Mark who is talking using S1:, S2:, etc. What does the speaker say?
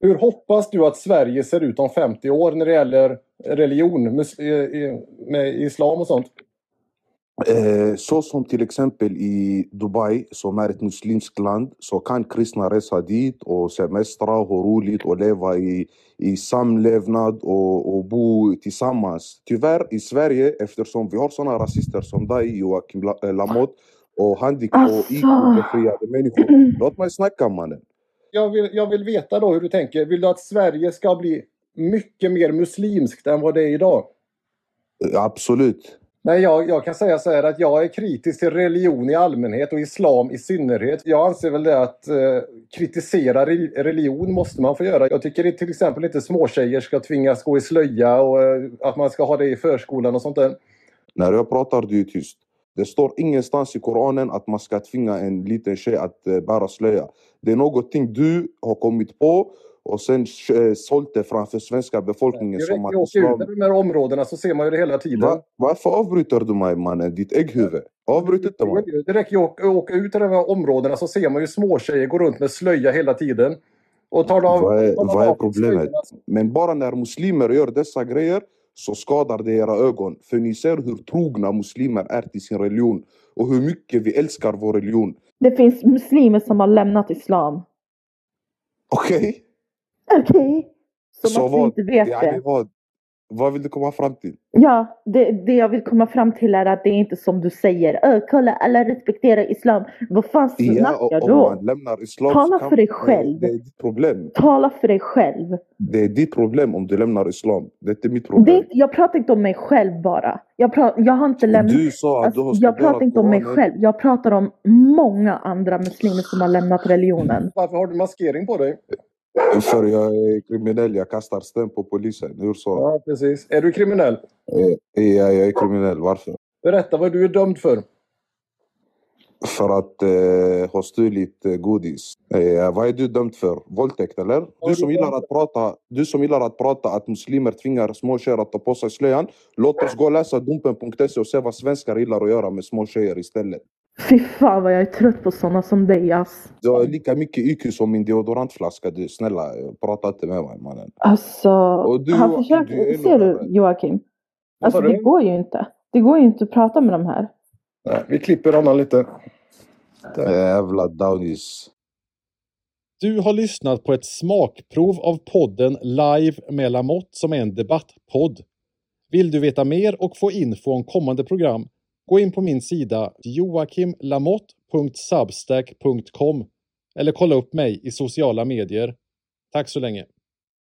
S1: Hur hoppas du att Sverige ser ut om 50 år när det gäller religion mus- eh, eh, med islam och sånt?
S2: Eh, Så som till exempel i Dubai, som är ett muslimskt land, så kan kristna resa dit och semestra och ha roligt och leva i, i samlevnad och, och bo tillsammans. Tyvärr i Sverige, eftersom vi har såna rasister som dig, Joakim La- eh, Lamotte, och handik och
S3: Alltså.
S2: IQ-befriade människor. Låt mig snacka mannen.
S1: Jag vill, jag vill veta då hur du tänker. Vill du att Sverige ska bli mycket mer muslimskt än vad det är idag?
S2: Eh, Absolut.
S1: Nej, jag, jag kan säga så här att jag är kritisk till religion i allmänhet och islam i synnerhet. Jag anser väl det att eh, kritisera re- religion måste man få göra. Jag tycker det, till exempel inte småtjejer ska tvingas gå i slöja och eh, att man ska ha det i förskolan och sånt där.
S2: När jag pratar, du är tyst. Det står ingenstans i Koranen att man ska tvinga en liten tjej att eh, bära slöja. Det är någonting du har kommit på och sen eh, sålt det framför svenska befolkningen
S1: Det
S2: som
S1: räcker
S2: att
S1: att åka ut
S2: islam...
S1: i de här områdena så ser man ju det hela tiden.
S2: Va, varför avbryter du mig mannen? Ditt ägghuvud. Avbryt inte mig.
S1: Det räcker ju att åka- åka ut i de här områdena så ser man ju småtjejer gå runt med slöja hela tiden. Och tar de,
S2: Vad är,
S1: tar de
S2: vad är
S1: av
S2: problemet?
S1: slöjorna
S2: Men bara när muslimer gör dessa grejer så skadar det era ögon. För ni ser hur trogna muslimer är till sin religion och hur mycket vi älskar vår religion.
S3: Det finns muslimer som har lämnat islam.
S2: Okej?
S3: Okej?
S2: Så
S3: Som att vi
S2: vad-
S3: inte vet
S2: يعني
S3: det.
S2: Alltså vad, vad vill du komma fram till?
S3: Ja, det, det jag vill komma fram till är att det är inte som du säger. Ö, kolla, alla respekterar islam. Vad fan
S2: Ja,
S3: snackar
S2: och,
S3: du
S2: om man
S3: om?
S2: lämnar islam
S3: Tala
S2: så kan-
S3: för dig
S2: det-
S3: själv.
S2: Det är ditt problem.
S3: Tala för dig själv.
S2: Det är ditt problem om du lämnar islam. Det är inte mitt problem.
S3: Det är, inte- jag pratar inte om mig själv bara. Jag, pra, jag har inte lämnat...
S2: Du sa att du har
S3: Alltså, jag pratar
S2: studerat
S3: inte om mig
S2: Koranen.
S3: själv. Jag pratar om många andra muslimer som har lämnat religionen.
S1: Varför har du maskering på dig?
S2: För jag är kriminell, jag kastar sten på polisen. Hur så?
S1: Ja, precis. Är du kriminell?
S2: Ja, jag är kriminell. Varför?
S1: Berätta vad du är dömd för.
S2: För att eh, ha stulit eh, godis. Eh, vad är du dömd för? Våldtäkt eller?
S1: du
S2: Du som, gillar att prata, du som gillar att prata att muslimer tvingar små tjejer att ta på sig slöjan. Låt oss gå och läsa Dumpen.se och se vad svenskar gillar att göra med små tjejer istället.
S3: Fy fan vad jag är trött på sådana som dig ass.
S2: Du har lika mycket IQ som min deodorantflaska du. Snälla, eh, prata inte med mig mannen.
S3: Alltså,
S2: Och du,
S3: han
S2: Joakim,
S3: försöker,
S2: du är nog
S3: ser du
S2: värre.
S3: Joakim?
S1: Vad
S3: Alltså
S1: sa
S3: det
S1: du?
S3: går ju inte. Det går ju inte att prata med de här.
S1: Nej, vi klipper annan lite.
S2: Eh, Jävla downies.
S4: Du har lyssnat på ett smakprov av podden Live med Lamotte som är en debattpodd. Vill du veta mer och få info om kommande program? Gå in på min sida joakimlamotte.substack.com eller kolla upp mig i sociala medier. Tack så länge!